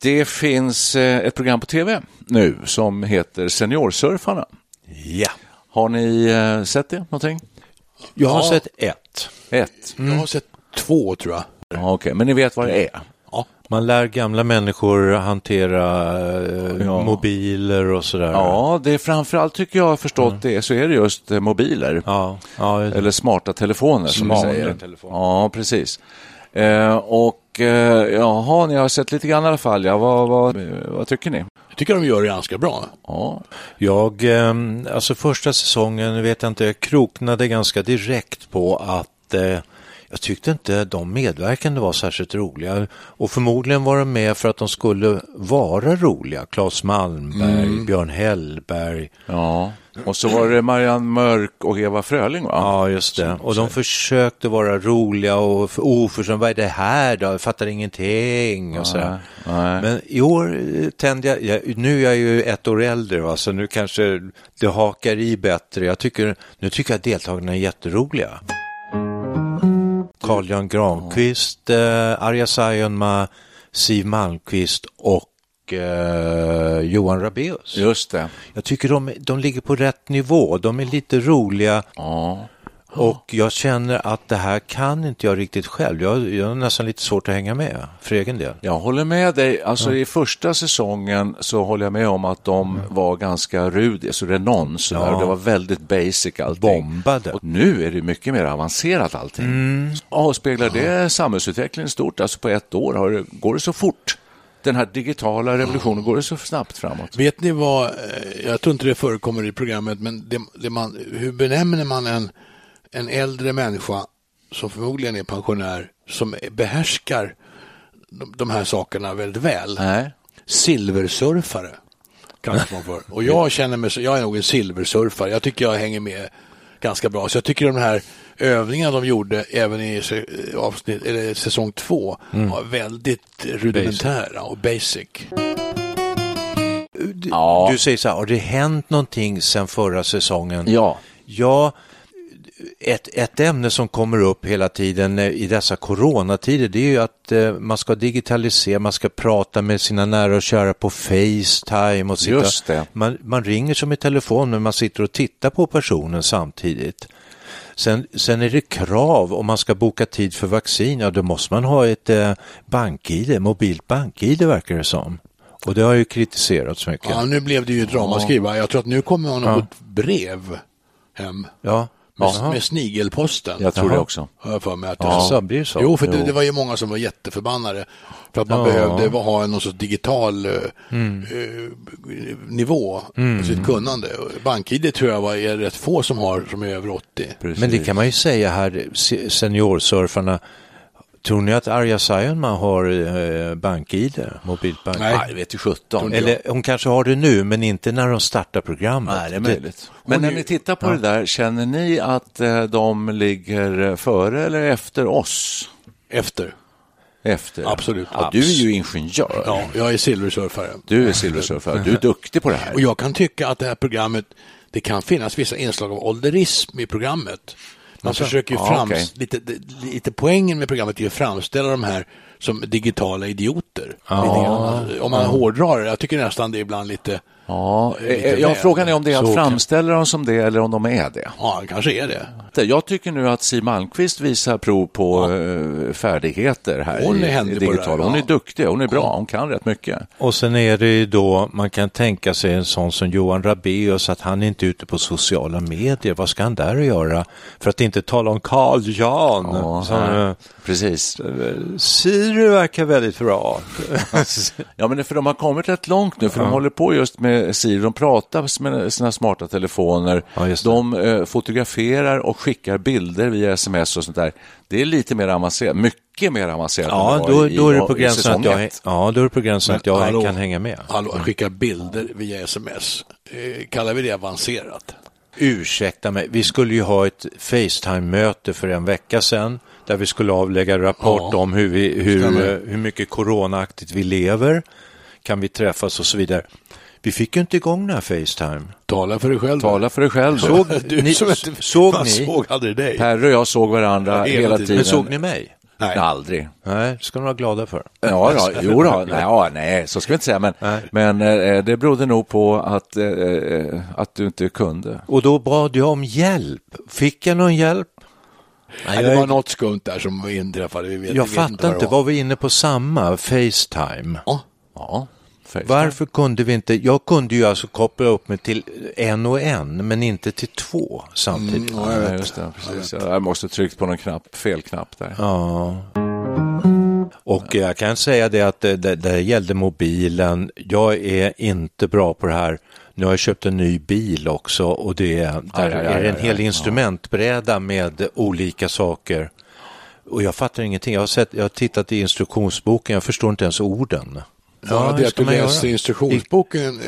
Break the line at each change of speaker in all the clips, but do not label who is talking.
Det finns eh, ett program på tv nu som heter Seniorsurfarna.
Ja.
Har ni eh, sett det någonting?
Jag har
Ja.
sett ett.
Ett?
Mm.
Jag har sett två tror jag.
Ja, Okej, men ni vet vad det är?
Ja.
Man lär gamla människor hantera eh,
Ja.
mobiler och sådär.
Ja, det är framförallt tycker jag har förstått det så är det just eh, mobiler.
Mm. Ja, ja,
Eller smarta telefoner som
Smarta
vi säger.
telefoner.
Ja, precis. Eh, och eh, jaha, ni har sett lite grann i alla fall. Ja, vad, vad, eh, vad tycker ni?
Jag tycker de gör det ganska bra.
Ja,
Jag, ehm, alltså första säsongen vet jag inte, jag kroknade ganska direkt på att eh, jag tyckte inte de medverkande var särskilt roliga. Och förmodligen var de med för att de skulle vara roliga. Claes Malmberg,
Mm.
Björn Hellberg.
ja. Och så var det Marianne Mörk och Eva Fröling va?
Ja, just det. Och de försökte vara roliga och för- oförskämda. Vad är det här då? Jag fattar ingenting och sådär.
nej.
Men i år eh, tände jag, jag, nu är jag ju ett år äldre va, så nu kanske det hakar i bättre. Jag tycker, nu tycker jag deltagarna är jätteroliga. Carl-Jan Granqvist, eh, Arja Saijonmaa, Siw Malmkvist och eh, Johan Rabaeus.
Just det.
Jag tycker de, de ligger på rätt nivå. De är lite roliga. Och jag känner att det här kan inte jag riktigt själv. Jag, jag har nästan lite svårt att hänga med för egen del.
Jag håller med dig. Alltså i första säsongen så håller jag med om att de var ganska rudiga, Alltså, så det nons. Ja. Det var väldigt basic allting.
Bombade.
Och nu är det mycket mer avancerat allting. Ja, och speglar det samhällsutvecklingen stort? Alltså på ett år har det, går det så fort? Den här digitala revolutionen, går det så snabbt framåt?
Vet ni vad, eh, jag tror inte det förekommer i programmet, men det, det man, hur benämner man en, en äldre människa som förmodligen är pensionär som behärskar de, de här sakerna väldigt väl?
Nej.
Silversurfare kallas man för. Och jag känner mig, så- jag är nog en silversurfare. Jag tycker jag hänger med ganska bra. Så jag tycker de här övningarna de gjorde även i se- eh, avsnitt, eller säsong två var väldigt rudimentära och basic.
Du,
Ja.
du säger så här, har det hänt någonting sedan förra säsongen?
Ja.
Ja, ett, ett ämne som kommer upp hela tiden eh, i dessa coronatider det är ju att eh, man ska digitalisera, man ska prata med sina nära och kära på Facetime och sitta.
Just det.
Man, man ringer som i telefon men man sitter och tittar på personen samtidigt. Sen, sen är det krav om man ska boka tid för vaccin, ja då måste man ha ett eh, bank-id, mobilt bank-id verkar det som. Och det har ju kritiserats mycket.
Ja, nu blev det ju ett ramaskri. va? Jag tror att nu kommer hon ja. ett brev hem
Ja,
med,
Jaha.
med snigelposten.
Jag tror det också.
Har jag för mig att
Ja, så blir det så.
Jo, för det,
Jo.
det var ju många som var jätteförbannade för att man behövde va- ha en någon sorts digital eh,
Mm.
eh, nivå på sitt kunnande. BankID tror jag var, är rätt få som har som är över 80.
Men det kan man ju säga här, se- seniorsurfarna, tror ni att Arja Saijonmaa har eh, bank-id, mobilbank?
Nej.
Nej, det vet ju sjutton.
Eller hon kanske har det nu, men inte när de startar programmet.
Nej, det är möjligt. Men när ni tittar på det där, känner ni att eh, de ligger eh, före eller efter oss?
Efter.
Efter?
Absolut.
Ja, du är ju ingenjör.
Ja, jag är silversurfare.
Du är silversurfare, du är duktig på det här.
Och jag kan tycka att det här programmet, det kan finnas vissa inslag av ålderism i programmet. Man försöker ju
Alltså, Ja,
fram,
okej.
lite, lite poängen med programmet är ju att framställa de här som digitala idioter. Lite grann. Om man hårdrar det, jag tycker nästan det är ibland lite
Ja,
är lite
eh, ja
väl.
frågan är om det är
Så
att
kan-
framställa dem som det eller om de är det.
Ja, han kanske är det.
Jag tycker nu att Siw Malmkvist visar prov på eh, färdigheter här
Hon är
i,
händig
i
på det
digital.
här,
Hon är
ja.
duktig, hon är bra, hon kan rätt mycket.
Och sen är det ju då, man kan tänka sig en sån som Johan Rabaeus, att han är inte ute på sociala medier. Vad ska han där att göra? För att inte tala om Carl Jan.
Ja,
som,
här.
eh,
Precis.
Siri verkar väldigt bra.
Ja, men det är för de har kommit rätt långt nu, för de håller på just med Siri. De pratar med sina smarta telefoner.
Ja, just det.
de eh, fotograferar och skickar bilder via sms och sånt där. Det är lite mer avancerat, mycket mer avancerat än
ja,
det var
då,
i-
då är det
i
på gränsen
säsong
att jag,
ett.
ja, då är det på gränsen att jag
Hallå.
kan hänga med.
Hallå, att skicka bilder via sms. Eh, Kallar vi det avancerat?
Ursäkta mig, vi skulle ju ha ett Facetime-möte för en vecka sedan där vi skulle avlägga rapport
Ja.
om hur, vi, hur,
Stämmer.
eh, hur mycket coronaaktigt vi lever, kan vi träffas och så vidare. Vi fick ju inte igång den här Facetime.
Tala för dig själv.
Tala för dig själv.
Såg-
du
Ni-
som inte
såg
man
ni?
såg aldrig dig.
Per och jag såg varandra hela, tiden.
Men såg ni mig?
Nej. Aldrig.
Nej, det ska ni vara glada för.
Ja, då, jo då. Nej, ja, nej, så ska vi inte säga. Men, men eh, det berodde nog på att, eh, eh, att du inte kunde.
Och då bad jag om hjälp. Fick jag någon hjälp?
Nej, det var något skumt där som inträffade. Vi vet,
Jag
vi vet
fattar inte,
vad det var.
var vi inne på samma Facetime?
Ja.
Ja, Facetime.
Varför kunde vi inte, jag kunde ju alltså koppla upp mig till en och en, men inte till två samtidigt.
Mm.
Ja, just det, precis. Jag måste tryckt på någon knapp, fel knapp där.
Ja. Och jag kan säga det att det, det, det gällde mobilen. Jag är inte bra på det här. Nu har jag köpt en ny bil också och det, där
Aj, aj, aj,
är det en
aj,
hel
aj,
instrumentbräda med olika saker. Och jag fattar ingenting. Jag har, sett, jag har tittat i instruktionsboken, jag förstår inte ens orden.
Ja, det
hur
att
ska
du
man göra?
läser instruktionsboken, eh,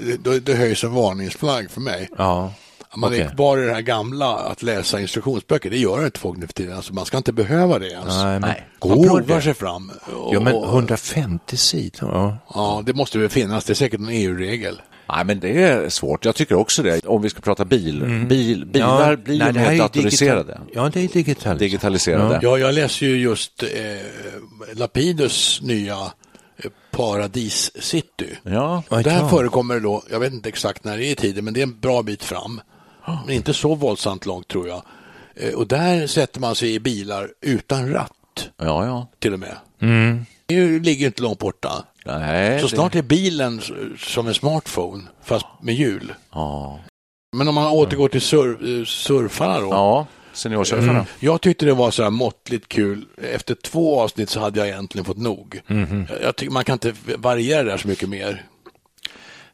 det, det, det höjs en varningsflagg för mig.
Ja,
Man är
okej.
kvar i det här gamla, att läsa instruktionsböcker, det gör inte folk nu för tiden. Alltså, man ska inte behöva det ens.
Nej, men
Man
går
provar
det?
sig fram. Och,
Ja, men 150 sidor. Ja.
ja, det måste väl finnas, det är säkert E en EU-regel.
Nej, men det är svårt. Jag tycker också det. Om vi ska prata bil, bil bilar blir ju
Mm. nej, det här är
mer
ju
datoriserade.
digital- Ja, det är digitaliserat.
Digitaliserade.
Ja, jag läser ju just eh, Lapidus nya eh, Paradis City.
Ja.
Ja,
Där
klart.
förekommer det då, jag vet inte exakt när det är i tiden, men det är en bra bit fram. Men inte så våldsamt långt tror jag. Eh, Och där sätter man sig i bilar utan ratt
ja, ja.
till och med.
Mm.
Det är ju- ligger ju inte långt borta.
Nej,
Så
det-
snart är bilen s- som en smartphone, fast med hjul.
Ja,
Men om man återgår till sur, eh, surfarna då. Mm.
ja. seniorsurfarna.
Jag tyckte det var så här måttligt kul. Efter två avsnitt så hade jag egentligen fått nog. Jag, jag tycker man kan inte variera det här så mycket mer.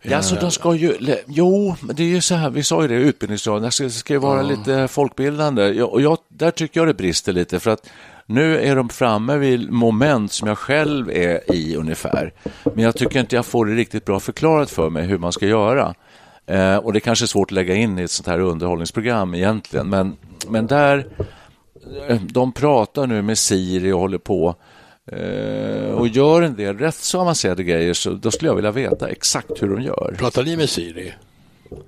Ja, alltså, de ska ju, le- jo, men det är ju så här, vi sa ju det i utbildningsradion, det ska, ska ju vara lite folkbildande Ja, och jag, där tycker jag det brister lite för att nu är de framme vid moment som jag själv är i ungefär. Men jag tycker inte jag får det riktigt bra förklarat för mig hur man ska göra. Eh, och det kanske är svårt att lägga in i ett sånt här underhållningsprogram egentligen, men, men där, eh, de pratar nu med Siri och håller på eh, och gör en del rätt så avancerade grejer, så då skulle jag vilja veta exakt hur de gör.
Pratar ni med Siri?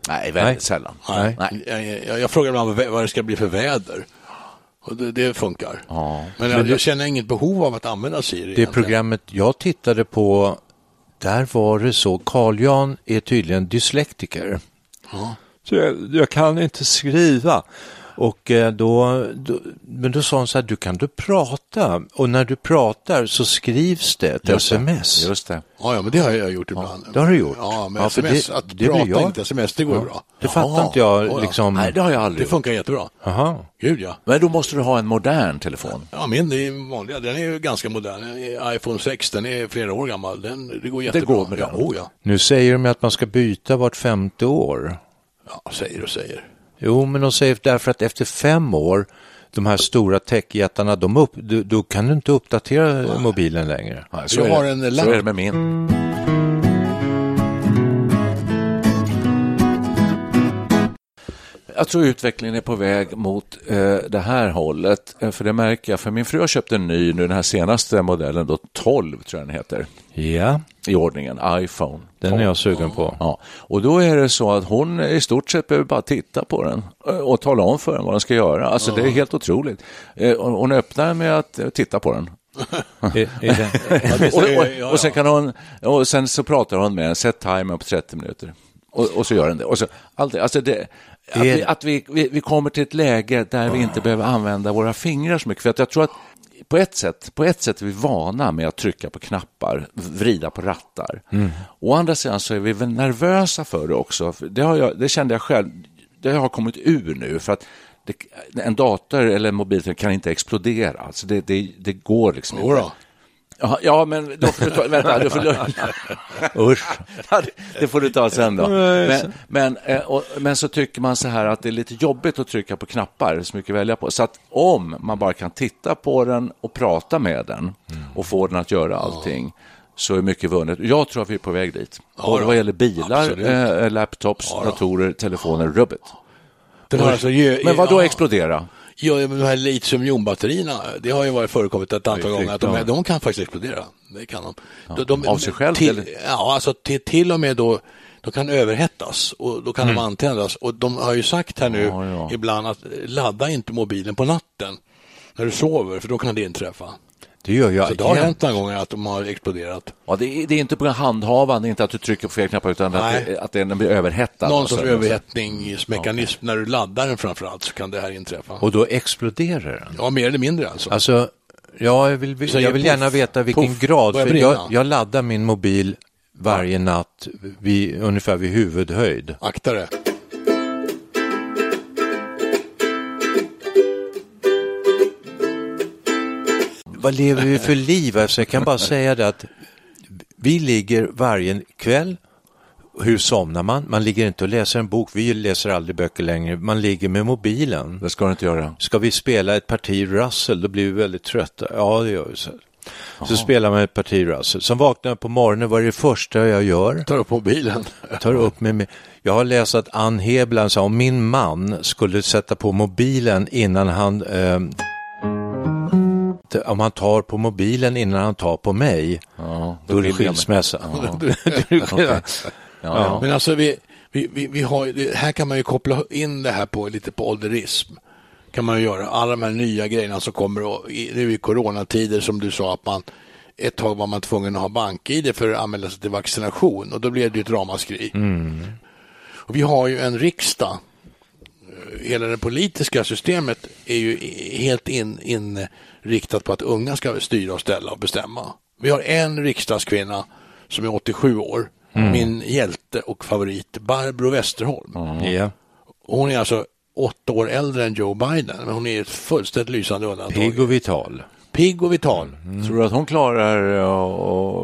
Nej, väldigt
Nej.
sällan.
Nej.
Jag, jag, jag frågar ibland vad, vad det ska bli för väder. Och det, det funkar. Men jag, jag känner inget behov av att använda Siri.
Det
egentligen.
programmet jag tittade på, där var det så. Carl Jan är tydligen dyslektiker. Så jag, jag kan inte skriva. Och eh, då, då, men då sa hon så här, du kan du prata och när du pratar så skrivs det ett sms.
Just det.
Ja, ja, men det har jag gjort ibland.
det har du gjort.
Ja, men
Ja, för
sms,
det-
att
det blir
prata
jag.
inte sms, det går
Ja.
bra.
Det fattar
Jaha.
inte jag,
ja.
liksom.
Nej, det har jag aldrig
Det funkar jättebra.
Aha.
Gud ja.
Men då måste du ha en modern telefon.
Ja, min är ju vanliga. Den är ju ganska modern. iPhone 6, den är flera år gammal. Den, det går jättebra.
går med
ja,
den.
oh, ja.
Nu säger de att man ska byta vart femte år.
ja, säger och säger.
Jo, men de säger därför att efter fem år, de här stora techjättarna, de upp, du, då kan du inte uppdatera mobilen längre.
Nej,
Jag
är
har
det.
en
så
lapp.
är det med min. Jag tror utvecklingen är på väg mot eh, det här hållet. Eh, För det märker jag, för min fru har köpt en ny nu, den här senaste modellen, då 12 tror jag den heter,
Ja,
i ordningen, iPhone.
den är jag sugen på.
Ja, och då är det så att hon i stort sett behöver bara titta på den eh, och tala om för den vad den ska göra. Alltså det är helt otroligt. Eh, Hon hon öppnar med att eh, titta på den
I, i den.
det
Och,
säger jag,
och,
ja,
och, sen
ja.
kan hon, och sen så pratar hon med en, sätt timern på 30 minuter. Och, och så gör den det. Och så, allt, alltså det, att vi, att vi, vi, vi kommer till ett läge där vi inte behöver använda våra fingrar så mycket. För att jag tror att på ett, sätt, på ett sätt är vi vana med att trycka på knappar, vrida på rattar.
Mm.
Å andra sidan så är vi väl nervösa för det också. För Det, har jag, det kände jag själv, det har jag kommit ur nu. För att det, en dator eller en mobiltelefon kan inte explodera. Alltså det, det, det går liksom inte.
Jodå.
Ja, ja, men då får du ta, vänta, du får,
Usch.
Ja, det- det får du ta sen då. Men, men, eh, och, men så tycker man så här att det är lite jobbigt att trycka på knappar, så mycket att välja på. Så att om man bara kan titta på den och prata med den och få den att göra allting så är mycket vunnet. Jag tror att vi är på väg dit. Både
då.
vad gäller bilar,
Absolut.
eh, laptops, datorer, telefoner, rubbet.
Den har alltså ge-
Men vad då
ja.
explodera?
Ja, men de här litiumjonbatterierna, det har ju varit förekommit ett antal gånger att de, de kan faktiskt explodera. Det kan de. de, de
av sig själv,
Till,
eller?
ja, alltså till, till och med då, de kan överhettas och då kan de antändas. Och de har ju sagt här nu
Mm. Ja, ja.
ibland att ladda inte mobilen på natten när du sover, för då kan det inträffa.
Det gör jag
Så det har
jämt.
hänt några gånger att de har exploderat.
Ja, det, är, det är inte på handhavande, inte att du trycker på fel knappar, utan att,
Nej.
att den blir överhettad. alltså,
Någon
Så-
sorts överhettningsmekanism när du laddar den framför allt så kan det här inträffa.
Och då exploderar den.
Ja, mer eller mindre alltså.
Alltså, ja, jag vill,
Säger
jag vill
puff,
gärna veta vilken
puff,
grad.
börjar
För
brinna.
jag, jag laddar min mobil varje natt vid, ungefär vid huvudhöjd.
Akta dig.
Vad lever vi för liv? Alltså, jag kan bara säga det att vi ligger varje kväll hur somnar man? Man ligger inte och läser en bok. Vi läser aldrig böcker längre. Man ligger med mobilen.
Det ska du inte göra.
Ska vi spela ett parti Russell, då blir vi väldigt trötta. Ja, det gör vi. Så, så spelar man ett parti Russell. Sen vaknar jag på morgonen, vad är det första jag gör?
Tar upp mobilen.
Tar upp med mig. Jag har läst att Ann Hebland sa om min man skulle sätta på mobilen innan han... Eh, t- om han tar på mobilen innan han tar på mig, då är det
skiljer jag mig.
skilsmässa.
Okej. ja.
Men alltså vi, vi, vi, vi har, ju- det- här kan man ju koppla in det här på lite på ålderism. Kan man ju göra. Alla de här nya grejerna som kommer och, i, nu i coronatider som du sa att man ett tag var man tvungen att ha bank-id för att anmäla sig till vaccination och då blev det ju ett ramaskri. Och vi har ju en riksdag. Hela det politiska systemet är ju i- helt in- inriktat på att unga ska styra och ställa och bestämma. Vi har en riksdagskvinna som är 87 år, min hjälte och favorit, Barbro Westerholm.
Ja.
Och Hon är alltså åtta år äldre än Joe Biden, men hon är ett fullständigt lysande undantag.
Pigg och vital.
Pigg och vital.
Mm. Tror du att hon klarar eh,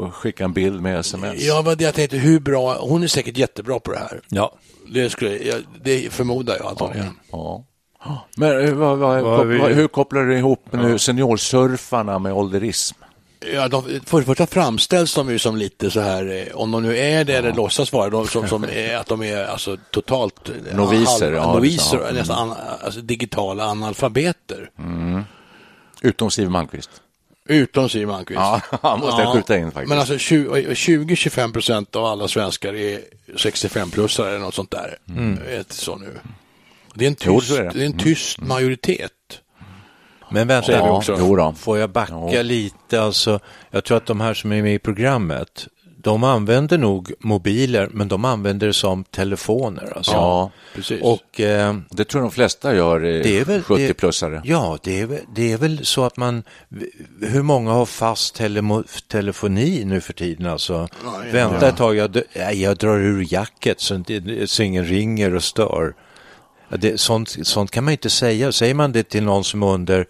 att skicka en bild med sms?
Ja, men jag tänkte hur bra, hon är säkert jättebra på det här.
Ja.
Det, skulle, jag- det förmodar jag att hon är.
Ja. Men eh, vad, vad,
Vad
kop-
vi-
vad, hur kopplar du ihop nu seniorsurfarna med ålderism?
Ja, de, för det första framställs de ju som lite så här, eh, om de nu är det eller låtsas vara de som, som är, att de är alltså totalt eh,
Noviser, ja,
noviser
liksom. Mm.
nästan an, alltså, digitala analfabeter.
Utom Siw Malmkvist.
Utom Siw Malmkvist.
Ja, han måste jag skjuta in faktiskt.
Men alltså 20-25 procent av alla svenskar är 65-plussare eller något sånt där. Ett, så nu. Det är en
Mm. Jo,
tyst,
så är det. Mm.
det. är en tyst majoritet.
Men vänta,
Ja, också. jo då.
får jag backa
Jo.
lite? Alltså, jag tror att de här som är med i programmet, de använder nog mobiler, men de använder det som telefoner. Alltså.
Ja,
precis.
Och eh,
Det tror jag de flesta gör, eh,
det är väl... det-
70-plussare.
Ja, det är, väl- det är väl så att man... Hur många har fast telemo, telefoni nu för tiden? Alltså, vänta ett tag, jag, dö- nej, jag drar ur jacket så, inte- så ingen ringer och stör. Ja, Det, sånt, sånt kan man ju inte säga. Säger man det till någon som är under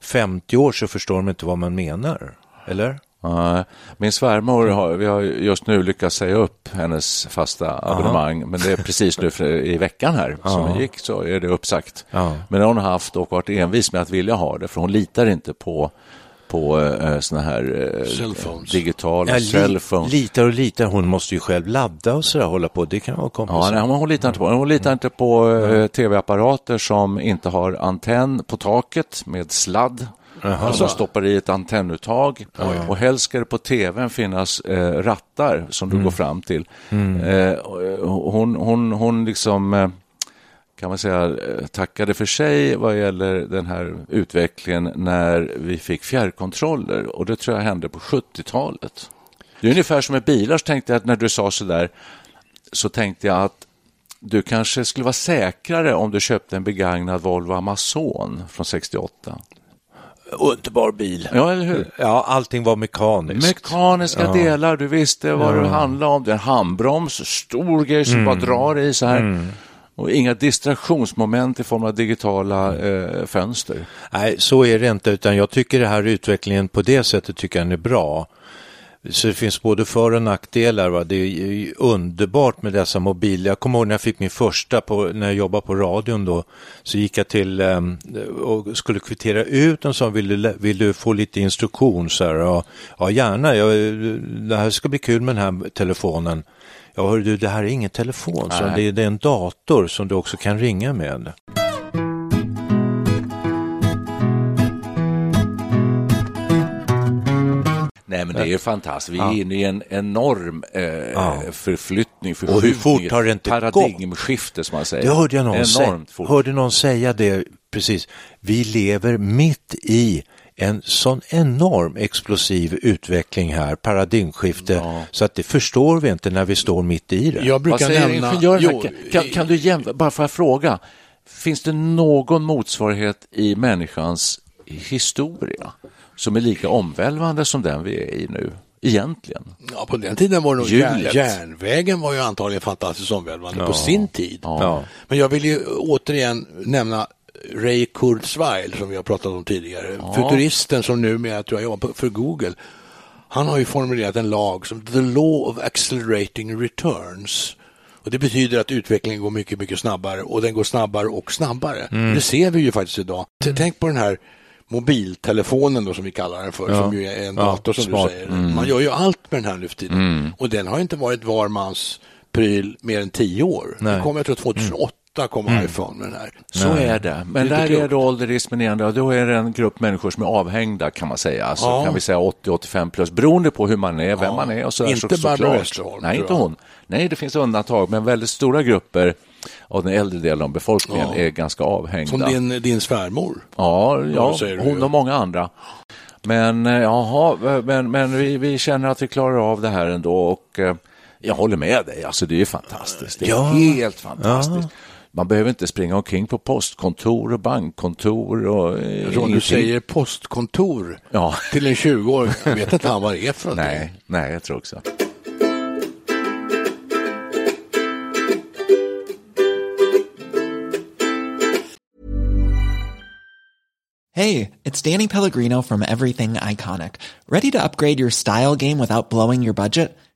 50 år så förstår de inte vad man menar. Eller?
Nej. Min svärmor
Mm.
har, vi har just nu lyckats säga upp hennes fasta abonnemang, men det är precis nu för, i veckan här som det gick så är det uppsagt.
Ja.
Men hon har haft och varit envis med att vilja ha det, för hon litar inte på på eh, såna här eh,
Cellphones.
digitala
li-
cellphones.
litar och litar, hon måste ju själv ladda och sådär hålla på. Det kan vara kompisar.
Ja, nej, hon, hon litar inte på, hon litar inte på eh, tv-apparater som inte har antenn på taket med sladd. Alltså man stoppar i ett antennuttag och helst ska det på tvn finnas eh, rattar som du går fram till. Eh, och, eh, hon, hon, hon liksom eh, kan man säga, eh, tackade för sig vad gäller den här utvecklingen när vi fick fjärrkontroller och det tror jag hände på 70-talet. Det är ungefär som med bilar, så tänkte jag att när du sa så där så tänkte jag att du kanske skulle vara säkrare om du köpte en begagnad Volvo Amazon från 68.
Underbar bil.
Ja, eller hur?
Ja, allting var mekaniskt.
Mekaniska delar, du visste vad det handlade om. Det är en handbroms, stor grej som bara drar i så här. Och inga distraktionsmoment i form av digitala eh, fönster.
Nej, så är det inte, utan jag tycker det här utvecklingen på det sättet tycker jag den är bra. Så det finns både för och nackdelar. Va? Det är ju underbart med dessa mobiler. Jag kommer ihåg när jag fick min första, på, när jag jobbade på radion då, så gick jag till ehm, och skulle kvittera ut en sån, vill du, lä- vill du få lite instruktion? Så här, ja, ja, gärna, jag, det här ska bli kul med den här telefonen. Ja, hör du, det här är ingen telefon, så det, är- det är en dator som du också kan ringa med.
Nej, men det är ju fantastiskt. Vi är inne i en enorm eh, förflyttning, förskjutning.
Och hur fort har det inte gått?
Paradigmskifte, som man säger.
Det hörde jag någon, säga,
Enormt fort.
hörde någon säga det precis. Vi lever mitt i en sån enorm explosiv utveckling här, paradigmskifte, så att det förstår vi inte när vi står mitt i det.
Jag
Vad
brukar
säger
nämna...
ingenjören?
Jo,
här? kan, kan du jämföra, bara för att fråga, finns det någon motsvarighet i människans historia som är lika omvälvande som den vi är i nu, egentligen?
Ja, på den tiden var det nog
Hjulet.
jär, järnvägen var ju antagligen fantastiskt omvälvande på sin tid.
Ja.
Men jag vill ju återigen nämna Ray Kurzweil som vi har pratat om tidigare. Futuristen som numera tror jag jobbar på- för Google. Han har ju formulerat en lag som The Law of Accelerating Returns. Och Det betyder att utvecklingen går mycket, mycket snabbare och den går snabbare och snabbare. Det ser vi ju faktiskt idag. T- Tänk på den här mobiltelefonen då som vi kallar den för, som ju är en dator som
smart.
du säger.
Mm.
Man gör ju allt med den här nu för tiden. Och den har inte varit var mans pryl mer än tio år. Det kom, jag tror 2008 kom iPhone med den här.
Mm. Så är det. Men
Det är
där
inte
är då ålderismen igen. då. Då är det en grupp människor som är avhängda kan man säga. Alltså, Kan vi säga 80-85 plus beroende på hur man är, vem man är och så där,
Inte
så,
Barbro
såklart.
Westerholm,
Nej,
tror
inte
jag.
hon. Nej, det finns undantag. Men väldigt stora grupper av den äldre delen av befolkningen är ganska avhängda.
Som din, din svärmor.
Ja, ja
Vad säger du?
hon och många andra. Men eh, jaha, men, men vi, vi känner att vi klarar av det här ändå och eh, jag håller med dig, alltså det är ju fantastiskt. Det är helt fantastiskt. Man behöver inte springa omkring på postkontor och bankkontor och eh,
Ron,
ingenting.
du säger postkontor
Ja.
till en 20-åring. Jag vet inte han vad det är för någonting.
Nej, nej, jag tror också.
Hey, it's Danny Pellegrino from Everything Iconic. Ready to upgrade your style game without blowing your budget?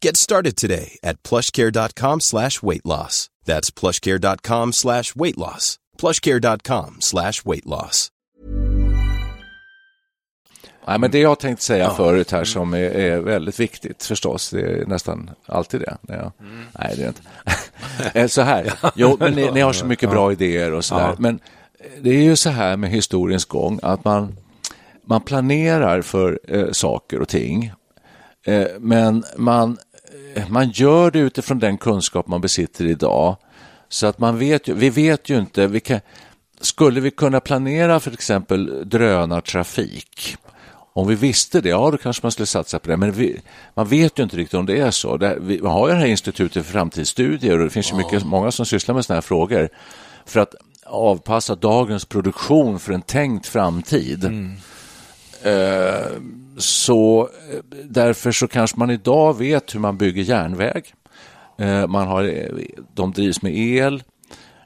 Get started today at plushcare.com slash weight loss. That's plushcare.com slash weight loss. Plushcare.com slash weight loss.
Nej, men det jag tänkte säga förut här som är, är väldigt viktigt förstås, det är nästan alltid det. när jag- Nej, det är inte. Eh, så här, jo, men ni, ni har så mycket bra idéer och så där. Men det är ju så här med historiens gång att man, man planerar för eh, saker och ting, eh, men man man gör det utifrån den kunskap man besitter idag. Så att man vet ju, vi vet ju inte, vi kan, skulle vi kunna planera för exempel drönartrafik? Om vi visste det, ja då kanske man skulle satsa på det, men vi, man vet ju inte riktigt om det är så. Det, vi har ju det här institutet för framtidsstudier och det finns ju mycket, många som sysslar med sådana här frågor för att avpassa dagens produktion för en tänkt framtid. Eh, så eh, därför så kanske man idag vet hur man bygger järnväg. Eh, man har, eh, de drivs med el,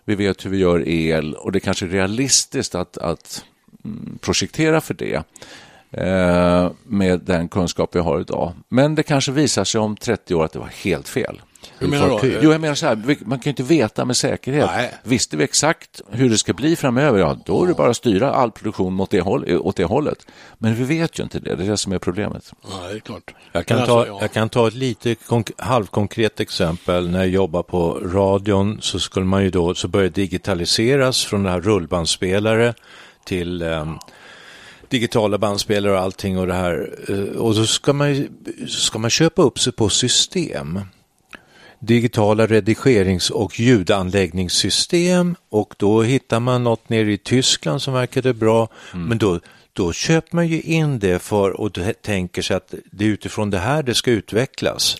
vi vet hur vi gör el och det kanske är realistiskt att, att mm, projektera för det eh, med den kunskap vi har idag. Men det kanske visar sig om 30 år att det var helt fel.
Hur menar du då? eh,
Jo, jag menar så här, vi- man kan ju inte veta med säkerhet. Visste vi exakt hur det ska bli framöver, ja, då är det bara att styra all produktion mot det håll, eh, åt det hållet. Men vi vet ju inte det, det är det som är problemet.
Ja, det är klart.
Jag kan,
Men
ta,
alltså, ja.
jag kan ta ett lite konk- halvkonkret exempel. När jag jobbade på radion så skulle man ju då, så började det digitaliseras från det här rullbandspelare till ehm, digitala bandspelare och allting och det här. Eh, Och då ska man, ju- så ska man köpa upp sig på system. Digitala redigerings och ljudanläggningssystem och då hittar man något nere i Tyskland som verkade bra. Men då, då köper man ju in det för och t- tänker sig att det är utifrån det här det ska utvecklas.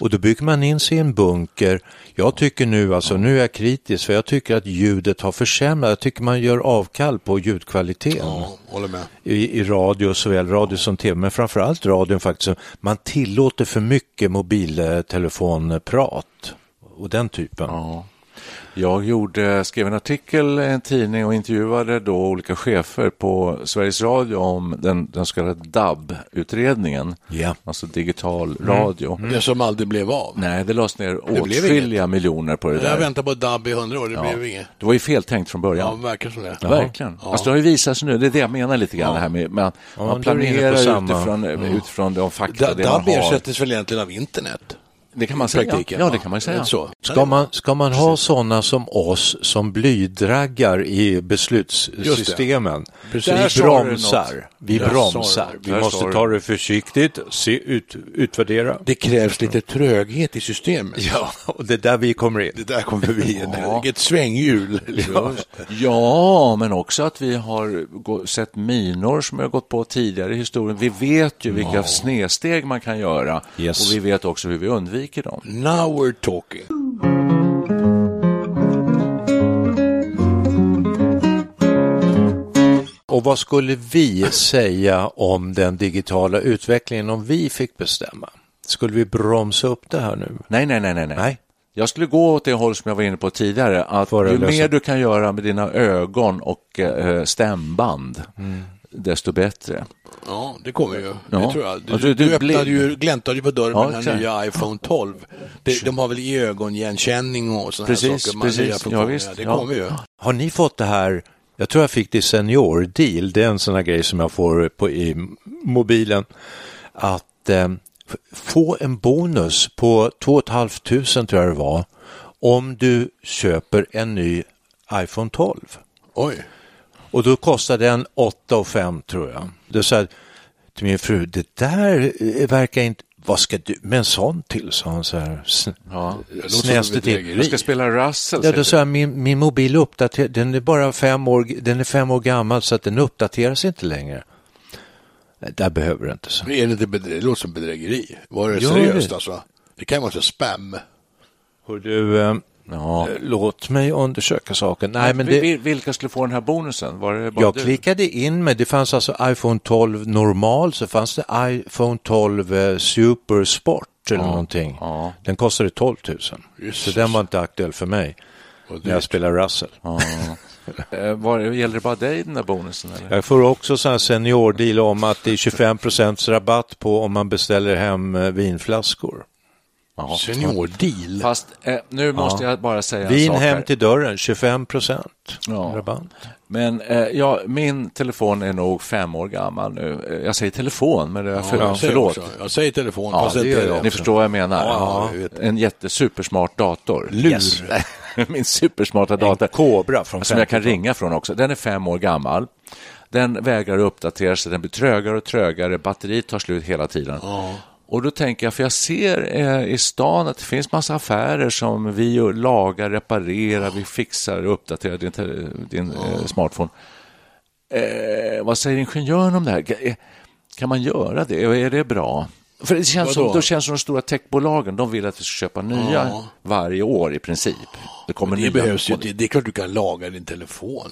Och då bygger man in sig i en bunker. Jag tycker nu, alltså nu är jag kritisk för jag tycker att ljudet har försämrats. Jag tycker man gör avkall på ljudkvaliteten
Håller med.
i, i radio, såväl radio som tv, men framförallt radion faktiskt. Man tillåter för mycket mobiltelefonprat och den typen.
Jag gjorde, skrev en artikel i en tidning och intervjuade då olika chefer på Sveriges Radio om den, den så kallade DAB-utredningen, alltså digital radio.
Det som aldrig blev av.
Nej, Mm. det lades ner
blev
åtskilliga miljoner på det
Jag har
där.
väntat på DAB i hundra år, det blev inget.
Det var ju feltänkt från början.
Ja, verkar som det.
Ja, Verkligen. Alltså det har ju visat sig nu, det är det jag menar lite grann det här med man,
Ja,
man
då är du inne på
planerar
samma.
utifrån,
Ja.
utifrån de fakta
Da-
det man
DAB
har.
ersätts väl egentligen av internet?
Det kan man säga. Ja, det kan man ju säga.
Så.
Ska man, ska man ha sådana som oss som blydraggar i beslutssystemen?
Precis. Där
Vi
sa du något.
bromsar. Vi
Där sa du.
bromsar. Vi
Där sa
måste
du.
ta det försiktigt, se, ut, utvärdera.
Det krävs lite tröghet i systemet.
Ja, och det är där vi kommer in.
Det där kommer vi in.
Ja.
Vilket svänghjul.
Ja. ja, men också att vi har gå- sett minor som vi har gått på tidigare i historien. Vi vet ju vilka
Ja.
snedsteg man kan göra och vi vet också hur vi undviker dem.
Now we're talking.
Och vad skulle vi säga om den digitala utvecklingen om vi fick bestämma? Skulle vi bromsa upp det här nu?
Nej, nej, nej, nej. nej. Jag skulle gå åt det håll som jag var inne på tidigare, att ju
lösa-
mer du kan göra med dina ögon och eh, stämband,
Mm.
desto bättre.
Ja, det kommer ju.
Ja.
Det tror jag. Du,
Ja, du-
du,
du
öppnade
blir-
ju, gläntade ju på dörren
Ja,
med den här
exakt.
nya iPhone 12. Det, de har väl i ögonigenkänning och sådana här
Precis,
saker. Man,
precis.
Nya funktioner.
Ja, visst.
Det
Ja.
kommer ju.
Har ni fått det här? Jag tror jag fick det i senior deal. Det är en sån här grej som jag får på, i mobilen. Att eh, f- få en bonus på 2 500 tror jag det var. Om du köper en ny iPhone 12.
Oj.
Och då kostar den 8 500 tror jag. Då sa jag till min fru, det där eh, verkar inte, vad ska du med en sån till? sa hon så här. sn- Snäste till.
Jag ska spela Russell.
Ja,
säger
då
du.
sa jag, min, min mobil uppdaterar, den är bara fem år, den är fem år gammal så att den uppdateras inte längre. Nej, Där behöver du inte så.
Är det, inte bedre... det låter som bedrägeri. Var det
Ja,
seriöst
det-
alltså? Det kan ju vara så spam.
Hör du, eh, eh, låt mig undersöka saken. Nej, men
Vi-
det,
vi- Vilka skulle få den här bonusen? Var det bara
jag
du?
klickade in mig, det fanns alltså iPhone 12 normal, så fanns det iPhone 12 eh, Super Sport eller någonting. Den kostade 12 000, så den var inte aktuell för mig när jag spelade Russell.
Eh, Var, gäller det bara dig den där bonusen? Eller?
Jag får också sån här seniordeal om att det är 25 rabatt på om man beställer hem eh, vinflaskor.
Ja.
Seniordeal?
Fast eh, nu måste jag bara säga en
Vin
sak
hem
här.
till dörren, 25
Ja.
rabatt.
Men eh, ja, min telefon är nog fem år gammal nu. Eh, Jag säger telefon, men det är för,
jag säger
förlåt.
också. Jag säger telefon,
Ja,
fast
det
inte
gör
det
jag.
också.
Ni förstår vad jag menar.
Ja,
Ja.
jag vet.
En jättesupersmart dator.
Lur.
Min supersmarta dator. En
kobra från
Som jag kan
50-talet.
ringa från också. Den är fem år gammal. Den vägrar att uppdatera sig, den blir trögare och trögare, batteriet tar slut hela tiden. Och då tänker jag, för jag ser eh, i stan att det finns massa affärer som vi ju lagar, reparerar, vi fixar och uppdaterar din, te- din eh, smartphone. Eh, vad säger ingenjören om det här? Ka- eh, Kan man göra det? Är det bra? För det känns som,
Vadå?
då känns det som de stora techbolagen, de vill att vi ska köpa nya
Ja.
varje år i princip. Det kommer
det
nya
behövs ju.
telefoner.
Det, det är klart du kan laga din telefon.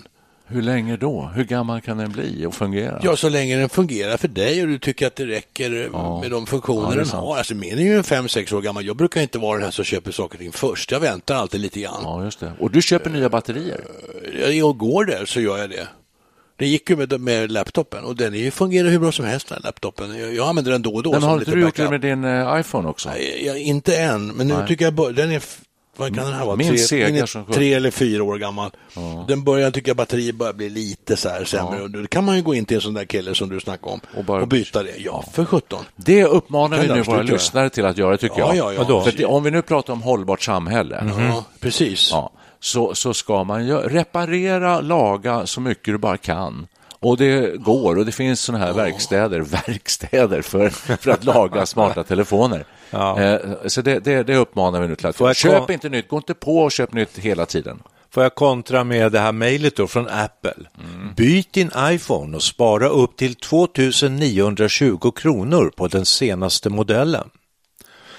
Hur länge då? Hur gammal kan den bli och fungera?
Ja, så länge den fungerar för dig och du tycker att det räcker med de funktioner
Ja, det är
den
sant.
har. Alltså min är ju 5-6 år gammal. Jag brukar inte vara den här som köper saker och ting först. Jag väntar alltid lite grann.
Ja, just det. Och du köper nya batterier?
Jag går där så gör jag det. Det gick ju med, med laptopen och den är ju- fungerar hur bra som helst den här laptopen. Jag, jag använder den då och då.
Nej, men
som
har inte du gjort det
backup.
med din eh, iPhone också?
Nej, jag, inte än, men nu
Nej.
tycker jag bör- den är, f- vad kan den här vara,
Min
tre,
sega
den är
som sjutton.
tre eller fyra år gammal. Den börjar, tycker jag, batteriet börjar bli lite så här sämre. Och då kan man ju gå in till en sån där kille som du snackade om och, byta det. Ja, för sjutton.
Det uppmanar
Kan
vi nu
absolut
våra
göra.
lyssnare till att göra, tycker
Ja,
jag.
ja, ja.
Vadå? För att,
Precis. Mm.
om vi nu pratar om hållbart samhälle,
Mhm.
Ja, precis.
Ja, så, så ska man ju reparera, laga så mycket du bara kan. Och det går och det finns sådana här verkstäder, verkstäder för, för att laga smarta telefoner. Eh, Så det, det, det uppmanar vi nu till att
Får jag
köp
kom-
inte nytt, gå inte på och köp nytt hela tiden.
Får jag kontra med det här mejlet då från Apple? Byt din iPhone och spara upp till 2920 kronor på den senaste modellen.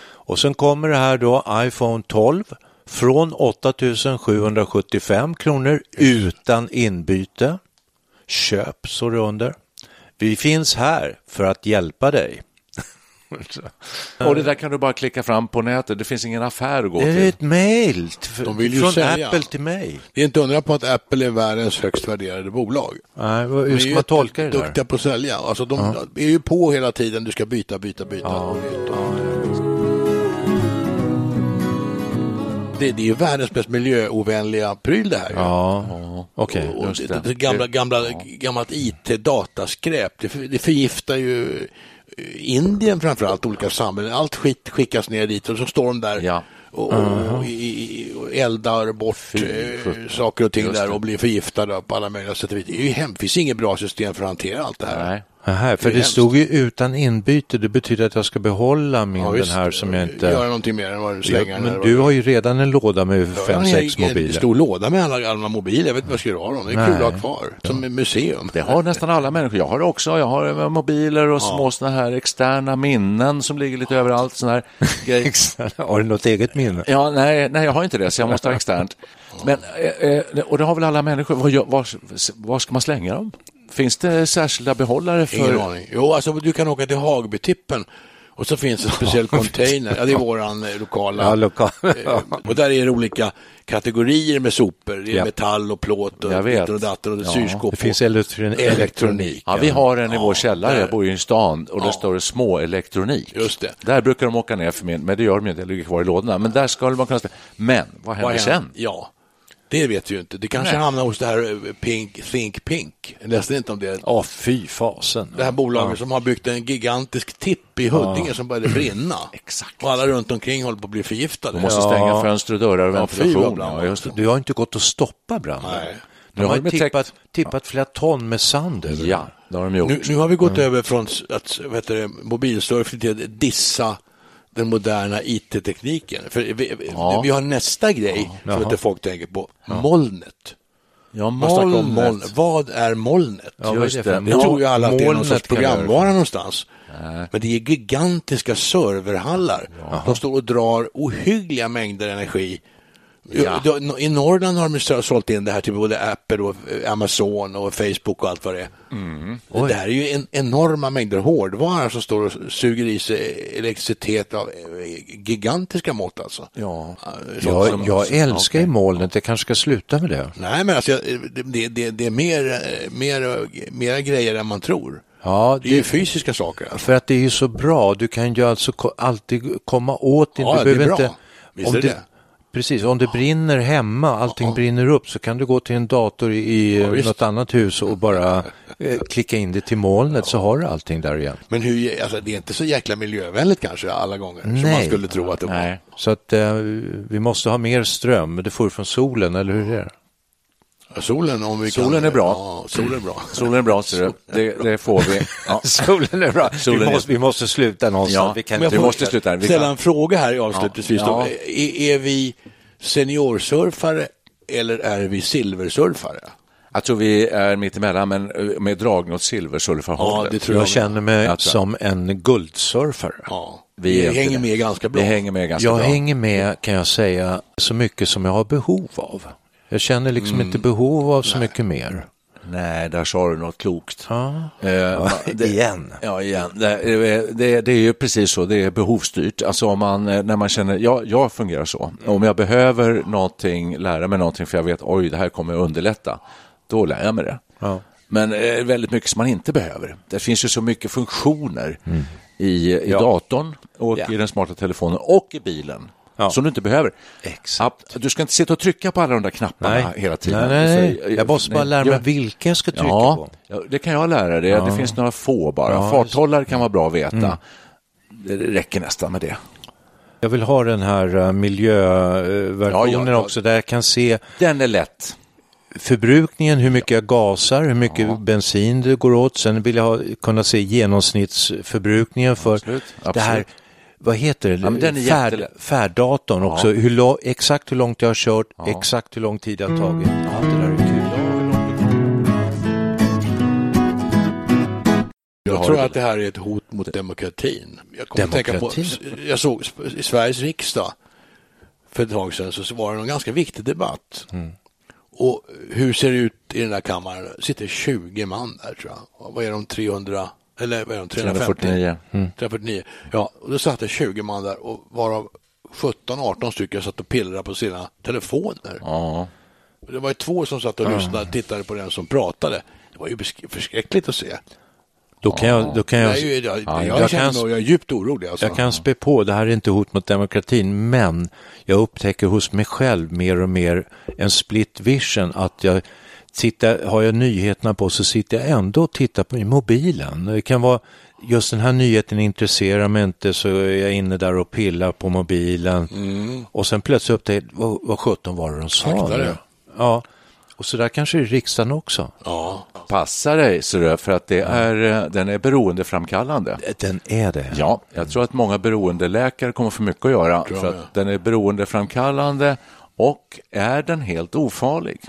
Och sen kommer det här då iPhone 12 från 8775 kronor utan inbyte. Köp så det under. Vi finns här för att hjälpa dig.
Och det där kan du bara klicka fram på nätet, det finns ingen affär att gå
Är
till.
det ett mejl
De vill ju
från
sälja.
Apple till mig?
Det är inte undra på att Apple är världens högst värderade bolag.
Nej, vad-
De är
hur ska
ju
man tolka det där?
Duktiga på att sälja. Alltså, de är ju på hela tiden, du ska byta, byta, byta. och byta. Det, det är ju världens mest miljöovänliga pryl det här. ju.
Ja, okej.
Och
just
det,
det.
det gamla, gamla, gammalt IT-dataskräp, det, för- det förgiftar ju eh, Indien framförallt, olika samhällen. Allt skit skickas ner dit och så står de där och,
Uh-huh.
och, i- i- och eldar bort eh, saker och ting
Just
där
det.
och blir förgiftade på alla möjliga sätt och vis. Det är ju hemskt, det finns inget bra system för att hantera allt det här.
Nej.
Aha, för
Det är
det,
hemskt.
stod ju utan inbyte, det betyder att jag ska behålla min den
visst.
här som jag inte...
Göra någonting mer än vad du slänger
Ja,
den
men
eller
du
vad-
har ju redan en låda med
Jag har
fem
en
sex
hel-
mobiler.
En stor låda med alla gamla mobiler, jag vet inte vad jag ska göra av dem. Det är kul att ha kvar, som ett museum.
Det har nästan alla människor. Jag har det också. Jag har eh, mobiler och små såna här externa minnen som ligger lite överallt. Såna här grejer.
Har du något eget minne?
Ja, nej, nej, jag har inte det, så jag måste ha externt. Men, eh, eh, och det har väl alla människor. Vad gör- Var, var ska man slänga dem? Finns det särskilda behållare
Ingen
för...
aning. Jo, alltså du kan åka till Hagbytippen och så finns en speciell container. Ja, det är våran eh, lokala.
Ja, lokal.
Eh, och där är det olika kategorier med sopor. Det är
Ja.
metall och plåt och
Jag vet.
ditten och datten och
Ja.
syrskåp.
Det finns
och
elektron-
elektronik.
Ja, vi har en i vår källare. Jag bor ju i en stan och där
Ja.
står det små elektronik.
Just det.
Där brukar de åka ner för min, men det gör de inte. Det ligger kvar i lådorna. Men där ska man kunna... slänga. Men vad händer
Vad händer?
sen?
Ja, det vet vi ju inte. Det kanske
Nej.
hamnar hos det här eh, Pink, Think Pink. Jag läste inte om det.
Ja, fy fasen.
Det här bolaget som har byggt en gigantisk tipp i Huddinge som började brinna.
Exakt.
Och alla runt omkring håller på att bli förgiftade.
De måste
Ja.
stänga fönster och dörrar och
Ja, fy vad
ventilation.
bra.
Ja, just det.
Du har inte gått att stoppa branden.
Nej.
De
Nu har
har
de
ju
täckt-
tippat, tippat flera ton med sand över
Ja, det har de gjort.
Nu, nu har vi gått över från s- att vad heter det, mobilsurfing till att dissa den moderna IT-tekniken. För vi, vi- vi har nästa grej som inte folk tänker på, molnet.
Ja,
Man snackar om moln.
molnet.
Vad är molnet?
Ja, vad är det för-
Nu tror ju alla att det är någon
Molnet
sorts
kan jag göra.
programvara någonstans. Men det är gigantiska serverhallar. De står och drar ohyggliga mängder energi. Ja. I Norrland har de så- sålt in det här till både Apple och eh, Amazon och Facebook och allt vad det är. Det där är ju en, enorma mängder hårdvara som står och suger i sig elektricitet av eh, gigantiska mått alltså.
Ja.
Sånt som-
Jag, jag älskar ju molnet, jag kanske ska sluta med det.
Nej, men alltså, jag- det, det, det, det är mer, eh, mer, mera grejer än man tror.
Ja,
Det är ju fysiska saker. Alltså.
För att det är ju så bra, du kan ju alltså ko- alltid komma åt din...
Ja,
du
det är
behöver
bra.
Inte,
Visst
om
är det
det-
det.
Precis, om det brinner hemma, allting brinner upp, så kan du gå till en dator i eh,
visst.
något annat hus och bara eh, klicka in det till molnet så har du allting där igen.
Men hur, alltså, det är inte så jäkla miljövänligt kanske alla gånger som man
Nej.
skulle tro att det var.
Nej.
Så att eh, vi måste ha mer ström, det får du från solen, eller hur är det?
Solen om vi
Solen
kan,
är bra.
Ja, solen är bra.
Solen är bra, ser du. Det, det får vi. Ja. Solen är bra.
Vi måste- vi måste sluta någonstans.
Ja.
Vi
Vi,
kan
Om jag får
måste sluta. här. Vi
ställa
kan-
en fråga här avslutningsvis.
Ja.
då. Är, är vi seniorsurfare eller är vi silversurfare?
Jag tror vi är mitt emellan, men eh, med dragning åt silversulfarhållet.
jag känner mig
Jag tror-
som en guldsurfare.
Vi Vi är inte hänger det.
med ganska bra.
Vi hänger med ganska
jag
bra.
hänger med, kan jag säga, så mycket som jag har behov av. Jag känner liksom
Mm.
inte behov av så mycket mer.
Nej, där sa du något klokt.
Ja.
Eh,
Ja,
ma- det,
igen.
Ja, igen. Det, det, det är ju precis så, det är behovsstyrt. Alltså om man, eh, när man känner, ja, jag fungerar så.
Mm.
Om jag behöver någonting, lära mig någonting för jag vet, oj, det här kommer att underlätta. Då lär jag mig det. Men eh, väldigt mycket som man inte behöver. Det finns ju så mycket funktioner
Mm.
i, i
Ja.
datorn och
Ja.
i den smarta telefonen och i bilen. Som du inte behöver. Exakt. Du ska inte sitta och trycka på alla de där knapparna
Nej.
hela tiden. eh,
Nej, nej.
För-
Jag måste bara lära mig vilka jag ska trycka
ja,
på.
Ja, det kan jag lära dig.
Ja.
Det finns några få bara.
Ja,
Farthållare kan vara bra att veta.
Mm.
Det räcker nästan med det.
Jag vill ha den här eh, miljöversionen
Ja, ja, ja.
också där jag kan se
Den är lätt.
förbrukningen, hur mycket jag gasar, hur mycket bensin det går åt. Sen vill jag ha, kunna se genomsnittsförbrukningen för det här,
absolut.
vad heter det,
Ja, men den är
Färd,
jättelätt.
färddatorn också.
Ja.
Hur, lo- exakt hur långt jag har kört, exakt hur lång tid det har
Mm.
tagit. Ja, det där är kul.
Jag
har
tror
det.
att det här är ett hot mot demokratin. Jag kommer att tänka på,
Demokratin?
jag såg i Sveriges riksdag för ett tag sedan så var det en ganska viktig debatt.
Mm.
Och hur ser det ut i den här kammaren? Det sitter 20 man där tror jag. Och Vad är de 300? Eller vad är de 350?
349. Mm.
349. Ja, och då satt det 20 man där och varav 17-18 stycken satt och pillrade på sina telefoner.
Ja.
Det var ju två som satt och
Ja.
lyssnade och tittade på den som pratade. Det var ju besk- förskräckligt att se.
Då kan jag... Då kan jag,
Nej, jag, jag,
Ja,
jag, känner mig, jag är djupt orolig. Alltså.
Jag kan spä på, det här är inte hot mot demokratin, men jag upptäcker hos mig själv mer och mer en split vision att jag tittar, har jag nyheterna på så sitter jag ändå och tittar på i mobilen. Det kan vara just den här nyheten intresserar mig inte så är jag inne där och pillar på mobilen och sen plötsligt upptäcker jag, vad, vad sjutton var det de sa?
Fakta det.
nu? Ja, och så där kanske det är i riksdagen också.
Ja.
Passa dig, ser du, för att det är, eh, den är beroendeframkallande.
Den är det.
Ja, jag tror att många beroendeläkare kommer få mycket att göra.
Tror jag
För
med.
att den är beroendeframkallande och är den helt ofarlig?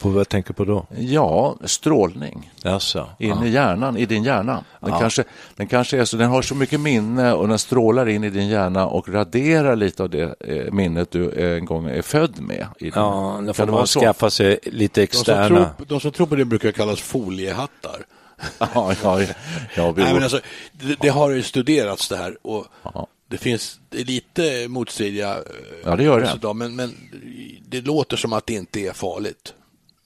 På vad jag tänker på då?
Ja, strålning.
Alltså,
In
ja.
i hjärnan, i din hjärna. Den,
Ja.
kanske, den kanske är så, den har så mycket minne och den strålar in i din hjärna och raderar lite av det eh, minnet du eh, en gång är född med. I din-
Ja, då
Mm. Kan det
får man
vara så?
skaffa sig lite
De som,
externa.
tror, de som tror på det brukar kallas foliehattar.
ja, ja, ja, vi-
Nej, men alltså, det, det har ju studerats det här och det finns det är lite motstridiga eh,
Ja, det gör det.
resultat, Men, men det låter som att det inte är farligt,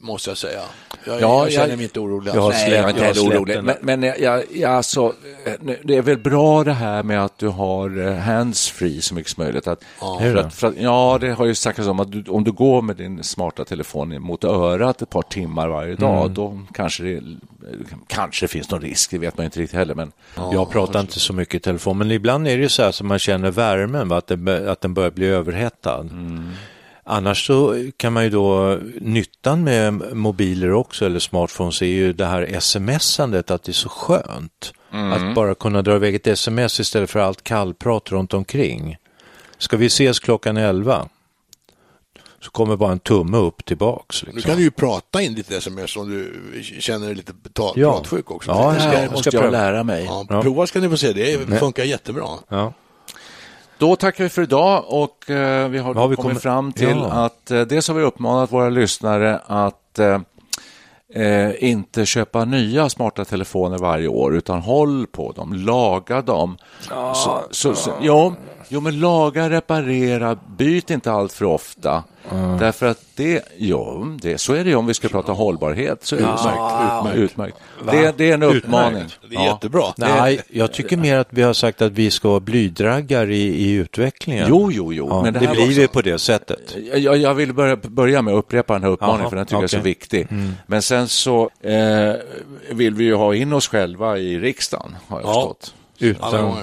måste jag säga. Jag,
Ja,
jag
jag-
känner mig inte orolig.
Jag har
alls.
släppt- Nej, jag är inte jag har heller släppt orolig. den. Men- men jag, jag, jag, alltså, eh, nu- det är väl bra det här med att du har eh, handsfree så mycket som möjligt. Att,
Ja.
för att, för att, ja, det har ju snackats om att du, om du går med din smarta telefon in mot örat ett par timmar varje dag,
Mm.
då kanske det eh, kanske finns någon risk, det vet man inte riktigt heller. Men,
jag pratar inte så mycket i telefon, men ibland är det ju så här som man känner värmen, va? att den, bör- att den börjar bli överhettad.
Mm.
Annars så kan man ju då, nyttan med mobiler också eller smartphones är ju det här smsandet, att det är så skönt.
Mm.
Att bara kunna dra iväg ett sms istället för allt kallprat runt omkring. Ska vi ses klockan 11? Så kommer bara en tumme upp tillbaks.
Nu
Liksom.
kan du ju prata in ditt sms om du känner dig lite ta,
Ja.
pratsjuk också.
Ja,
Det
ja,
ska-
ja. Ska pröva.
Ja,
Ja.
prova ska ni få se, det
Nej.
funkar jättebra.
Ja.
Då tackar vi för idag och eh, vi har,
Har vi
kommit,
kommit-
fram till
Ja.
att eh, dels har vi uppmanat våra lyssnare att eh, eh, inte köpa nya smarta telefoner varje år utan håll på dem, laga dem. Så, så, så, jo, jo, men laga, reparera, byt inte allt för ofta.
Mm.
Därför att det, jo, det, så är det ju om vi ska prata hållbarhet. Så är det
Ja,
utmärkt, utmärkt.
utmärkt. Va?
Det, det är en
Utmärkt.
uppmaning.
Det är jättebra.
Nej, jag tycker mer att vi har sagt att vi ska vara blydraggar i, i utvecklingen.
Jo, jo, jo.
Ja,
men det
det
här Eh,
blir
var-
vi på det sättet.
Jag- Jag, jag vill börja, börja med att upprepa den här uppmaningen
Jaha,
för den tycker jag är så
okej.
viktig. Men sen så eh, vill vi ju ha in oss själva i riksdagen har jag förstått.
Utan,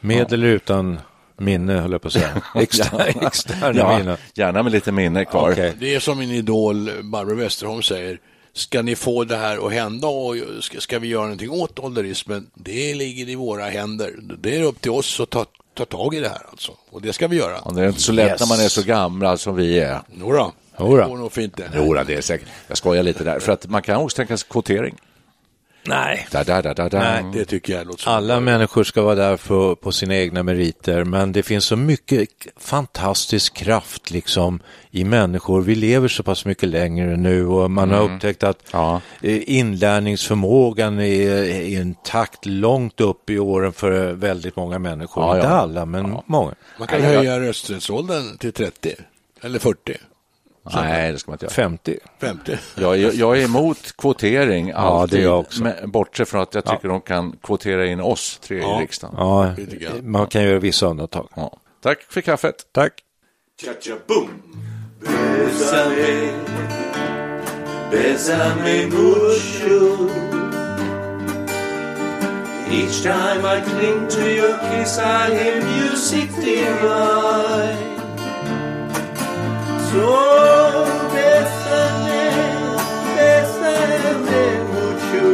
med eller utan Minne, höll jag på att säga. Externa, externa
ja,
minnen.
Gärna med lite minne kvar.
Det är som min idol Barbro Westerholm säger. Ska ni få det här att hända och ska, ska vi göra någonting åt ålderismen? Det ligger i våra händer. Det är upp till oss att ta, ta tag i det här alltså. Och det ska vi göra.
Ja, Det är inte så lätt
Yes.
när man är så gammal som vi är.
Jodå.
Jodå.
Det går nog fint det.
Jodå, det är säkert. Jag skojar lite där, för att man kan också tänka sig kvotering.
Nej.
Da, da, da, da, da.
Nej,
det tycker jag låter
Alla människor ska vara där för, på sina egna meriter, men det finns så mycket k- fantastisk kraft liksom i människor. Vi lever så pass mycket längre nu och man har
Mm.
upptäckt att eh, inlärningsförmågan är, är intakt långt upp i åren för väldigt många människor.
Ja, ja.
Inte alla, men många.
Man kan höja rösträttsåldern till 30 eller 40.
Nej, det ska man inte göra.
50.
50.
Jag, är- jag är emot kvotering alltid,
det är jag också.
men- bortsett från att jag tycker de kan kvotera in oss tre
Ja.
i riksdagen.
Ja, man kan göra vissa undantag.
Tack för kaffet.
Tack.
Cha-cha-boom. Bésame, bésame mucho. Each time I cling to your kiss, I hear music divine. So bésame, bésame mucho.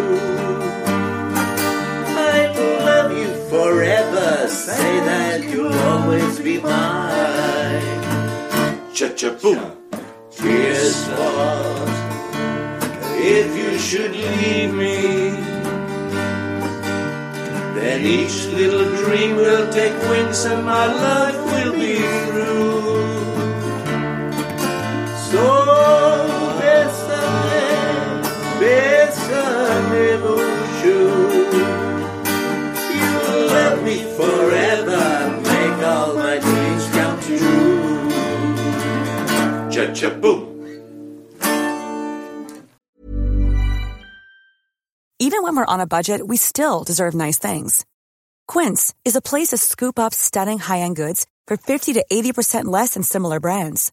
I love you forever. Say that you'll always be mine. Cha-cha-boom. Tears fall if you should leave me. Then each little dream will take wings and my life will be through. So bésame, bésame mucho. You love me forever, make all my dreams come true. Cha-cha-boom.
Even when we're on a budget, we still deserve nice things. Quince is a place to scoop up stunning high-end goods for 50 to 80% less than similar brands.